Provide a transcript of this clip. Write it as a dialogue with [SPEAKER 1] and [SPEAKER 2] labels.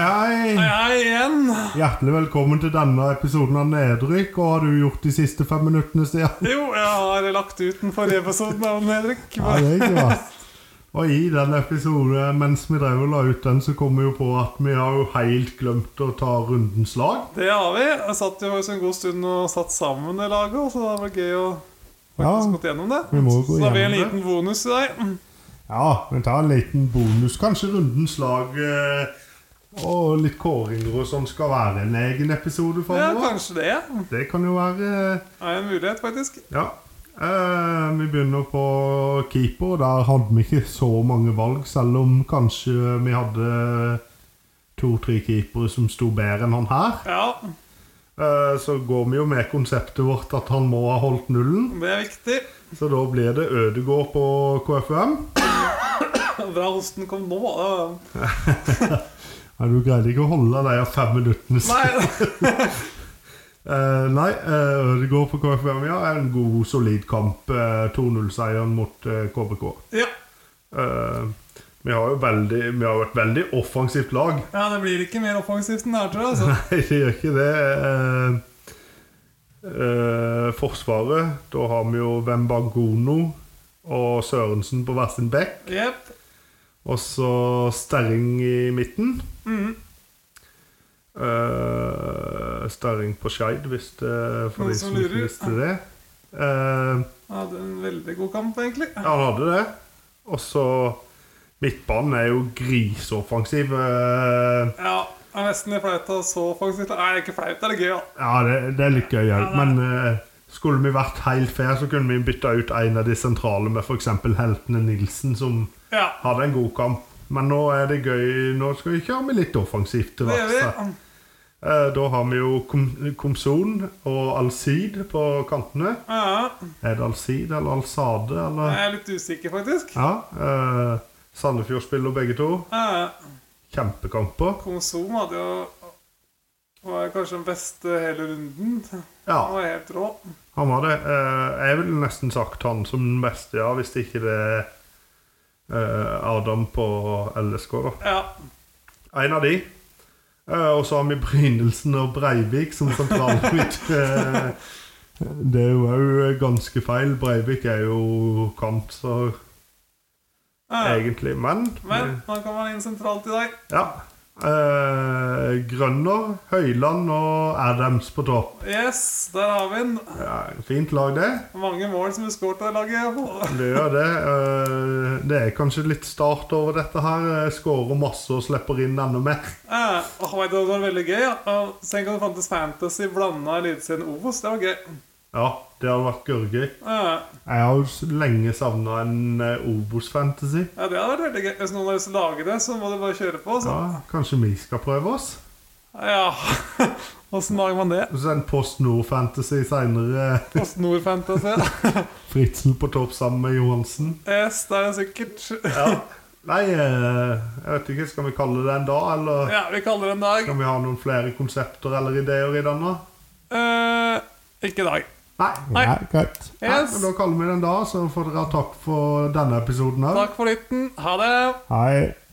[SPEAKER 1] er her igjen.
[SPEAKER 2] Hjertelig velkommen til denne episoden av Nedrykk. Og har du gjort de siste fem minuttene, Stian?
[SPEAKER 1] Jo, jeg har lagt ut den forrige episoden av Nedrykk.
[SPEAKER 2] Ja, det er ikke verst. Og i den episoden, mens vi drev og la ut den, så kom vi jo på at vi har jo helt glemt å ta rundens lag.
[SPEAKER 1] Det har vi. Jeg satt jo en god stund og satt sammen det laget, så det var gøy å faktisk
[SPEAKER 2] Ja.
[SPEAKER 1] gått gjennom det.
[SPEAKER 2] Vi må jo gå
[SPEAKER 1] så har vi en
[SPEAKER 2] gjennom Mm.
[SPEAKER 1] liten bonus i dag.
[SPEAKER 2] Ja, vi tar en liten bonus. Kanskje rundens lag eh, og litt kåringer og sånn skal være en egen episode
[SPEAKER 1] Ja,
[SPEAKER 2] framover.
[SPEAKER 1] kanskje det er
[SPEAKER 2] Det kan jo være eh,
[SPEAKER 1] en mulighet, faktisk.
[SPEAKER 2] Ja. Eh, vi begynner på keeper. Der hadde vi ikke så mange valg, selv om kanskje vi hadde to-tre keepere som sto bedre enn han her.
[SPEAKER 1] Ja,
[SPEAKER 2] Eh, så går vi jo med konseptet vårt at han må ha holdt nullen.
[SPEAKER 1] det er viktig.
[SPEAKER 2] Så da blir det Ødegård på KFUM.
[SPEAKER 1] Bra hosten kom nå. da.
[SPEAKER 2] Nei, du greide ikke å holde deg av fem minutter.
[SPEAKER 1] Nei,
[SPEAKER 2] Eh, nei, eh, Ødegård på KFUM ja, er en god, solid kamp. Eh, 2-0-seieren mot eh, KBK.
[SPEAKER 1] ja.
[SPEAKER 2] Eh, vi har jo veldig, vi har jo et veldig offensivt lag.
[SPEAKER 1] ja, det blir ikke mer offensivt enn det her, tror jeg. Altså.
[SPEAKER 2] Nei, det gjør ikke det. Eh, eh, forsvaret, da har vi jo Wembangono og Sørensen på hver sin bekk.
[SPEAKER 1] Jepp.
[SPEAKER 2] Og så Sterring i midten.
[SPEAKER 1] Mm.
[SPEAKER 2] Eh, Sterring på Skeid, hvis det for
[SPEAKER 1] Noen
[SPEAKER 2] de
[SPEAKER 1] som
[SPEAKER 2] som ikke
[SPEAKER 1] lurer.
[SPEAKER 2] visste det. Eh,
[SPEAKER 1] Hadde en veldig god kamp, egentlig.
[SPEAKER 2] han hadde det. Og så Midtbanen er jo griseoffensiv. Eh,
[SPEAKER 1] Ja, det er nesten litt flaut å ha så offensivt. Nei, det er ikke flaut, det er gøy, da.
[SPEAKER 2] Ja, det, det er litt gøy òg,
[SPEAKER 1] Ja, det
[SPEAKER 2] men eh, skulle vi vært helt fair, så kunne vi bytta ut en av de sentrale med f.eks. heltene Nilsen, som
[SPEAKER 1] Ja,
[SPEAKER 2] hadde en god kamp. Men nå er det gøy. Nå skal vi kjøre med litt offensivt til
[SPEAKER 1] det gjør
[SPEAKER 2] verks. her.
[SPEAKER 1] vi.
[SPEAKER 2] Eh, Da har vi jo Kom- Komson og Al-Sid på kantene.
[SPEAKER 1] Ja,
[SPEAKER 2] Er det Al-Sid eller Al-Sade, eller
[SPEAKER 1] jeg er litt usikker, faktisk.
[SPEAKER 2] Ja. eh, Sandefjord spiller begge to.
[SPEAKER 1] Ja,
[SPEAKER 2] Kjempekamper.
[SPEAKER 1] Konsom hadde jo var kanskje den beste hele runden. Han
[SPEAKER 2] Ja,
[SPEAKER 1] var helt rå.
[SPEAKER 2] han var det. Eh, Jeg ville nesten sagt han som den beste, ja, hvis det ikke det er eh, Adam på LSK, da.
[SPEAKER 1] Ja,
[SPEAKER 2] En av de. Eh, Og så har vi Brynelsen og Breivik som sentralmitt. Eh, Det er jo òg ganske feil. Breivik er jo kant, så
[SPEAKER 1] ja.
[SPEAKER 2] egentlig, men
[SPEAKER 1] Men han kan være inn sentralt i dag.
[SPEAKER 2] Ja. Eh, Grønner, Høyland og Adams på topp.
[SPEAKER 1] Yes, der har vi den.
[SPEAKER 2] Ja, fint lag, det.
[SPEAKER 1] Mange mål som vi skåret av laget.
[SPEAKER 2] Det gjør det. Eh, det er kanskje litt start over dette her. Eh, Skårer masse og slipper inn enda mer.
[SPEAKER 1] Ja, åh, vet du, det var veldig gøy. Ja. Og Tenk om det fantes Fantasy blanda eliteserien Ovos. Det var gøy.
[SPEAKER 2] Ja, det hadde vært gørrgøy.
[SPEAKER 1] Ja.
[SPEAKER 2] Jeg har jo s- lenge savna en eh, Obos-fantasy.
[SPEAKER 1] Ja, det hadde vært veldig gøy. Hvis noen har lyst til å lage det, så må du bare kjøre på. Så.
[SPEAKER 2] Ja, kanskje vi skal prøve oss?
[SPEAKER 1] Ja, åssen lager man det?
[SPEAKER 2] Og så en Post Nord-fantasy seinere.
[SPEAKER 1] PostNord Fantasy.
[SPEAKER 2] Fritzen eh, på topp sammen med Johansen.
[SPEAKER 1] Yes, det er det sikkert.
[SPEAKER 2] Ja. Nei, eh, jeg vet ikke. Skal vi kalle det en dag, eller?
[SPEAKER 1] Ja, vi kaller det en dag.
[SPEAKER 2] Kan vi ha noen flere konsepter eller ideer i denne?
[SPEAKER 1] Eh, ikke i dag.
[SPEAKER 2] Nei.
[SPEAKER 1] Nei.
[SPEAKER 2] greit. Nei,
[SPEAKER 1] Yes.
[SPEAKER 2] men da kaller vi den da, så får dere ha takk for denne episoden òg.
[SPEAKER 1] Takk for lytten. Ha det.
[SPEAKER 2] Hei.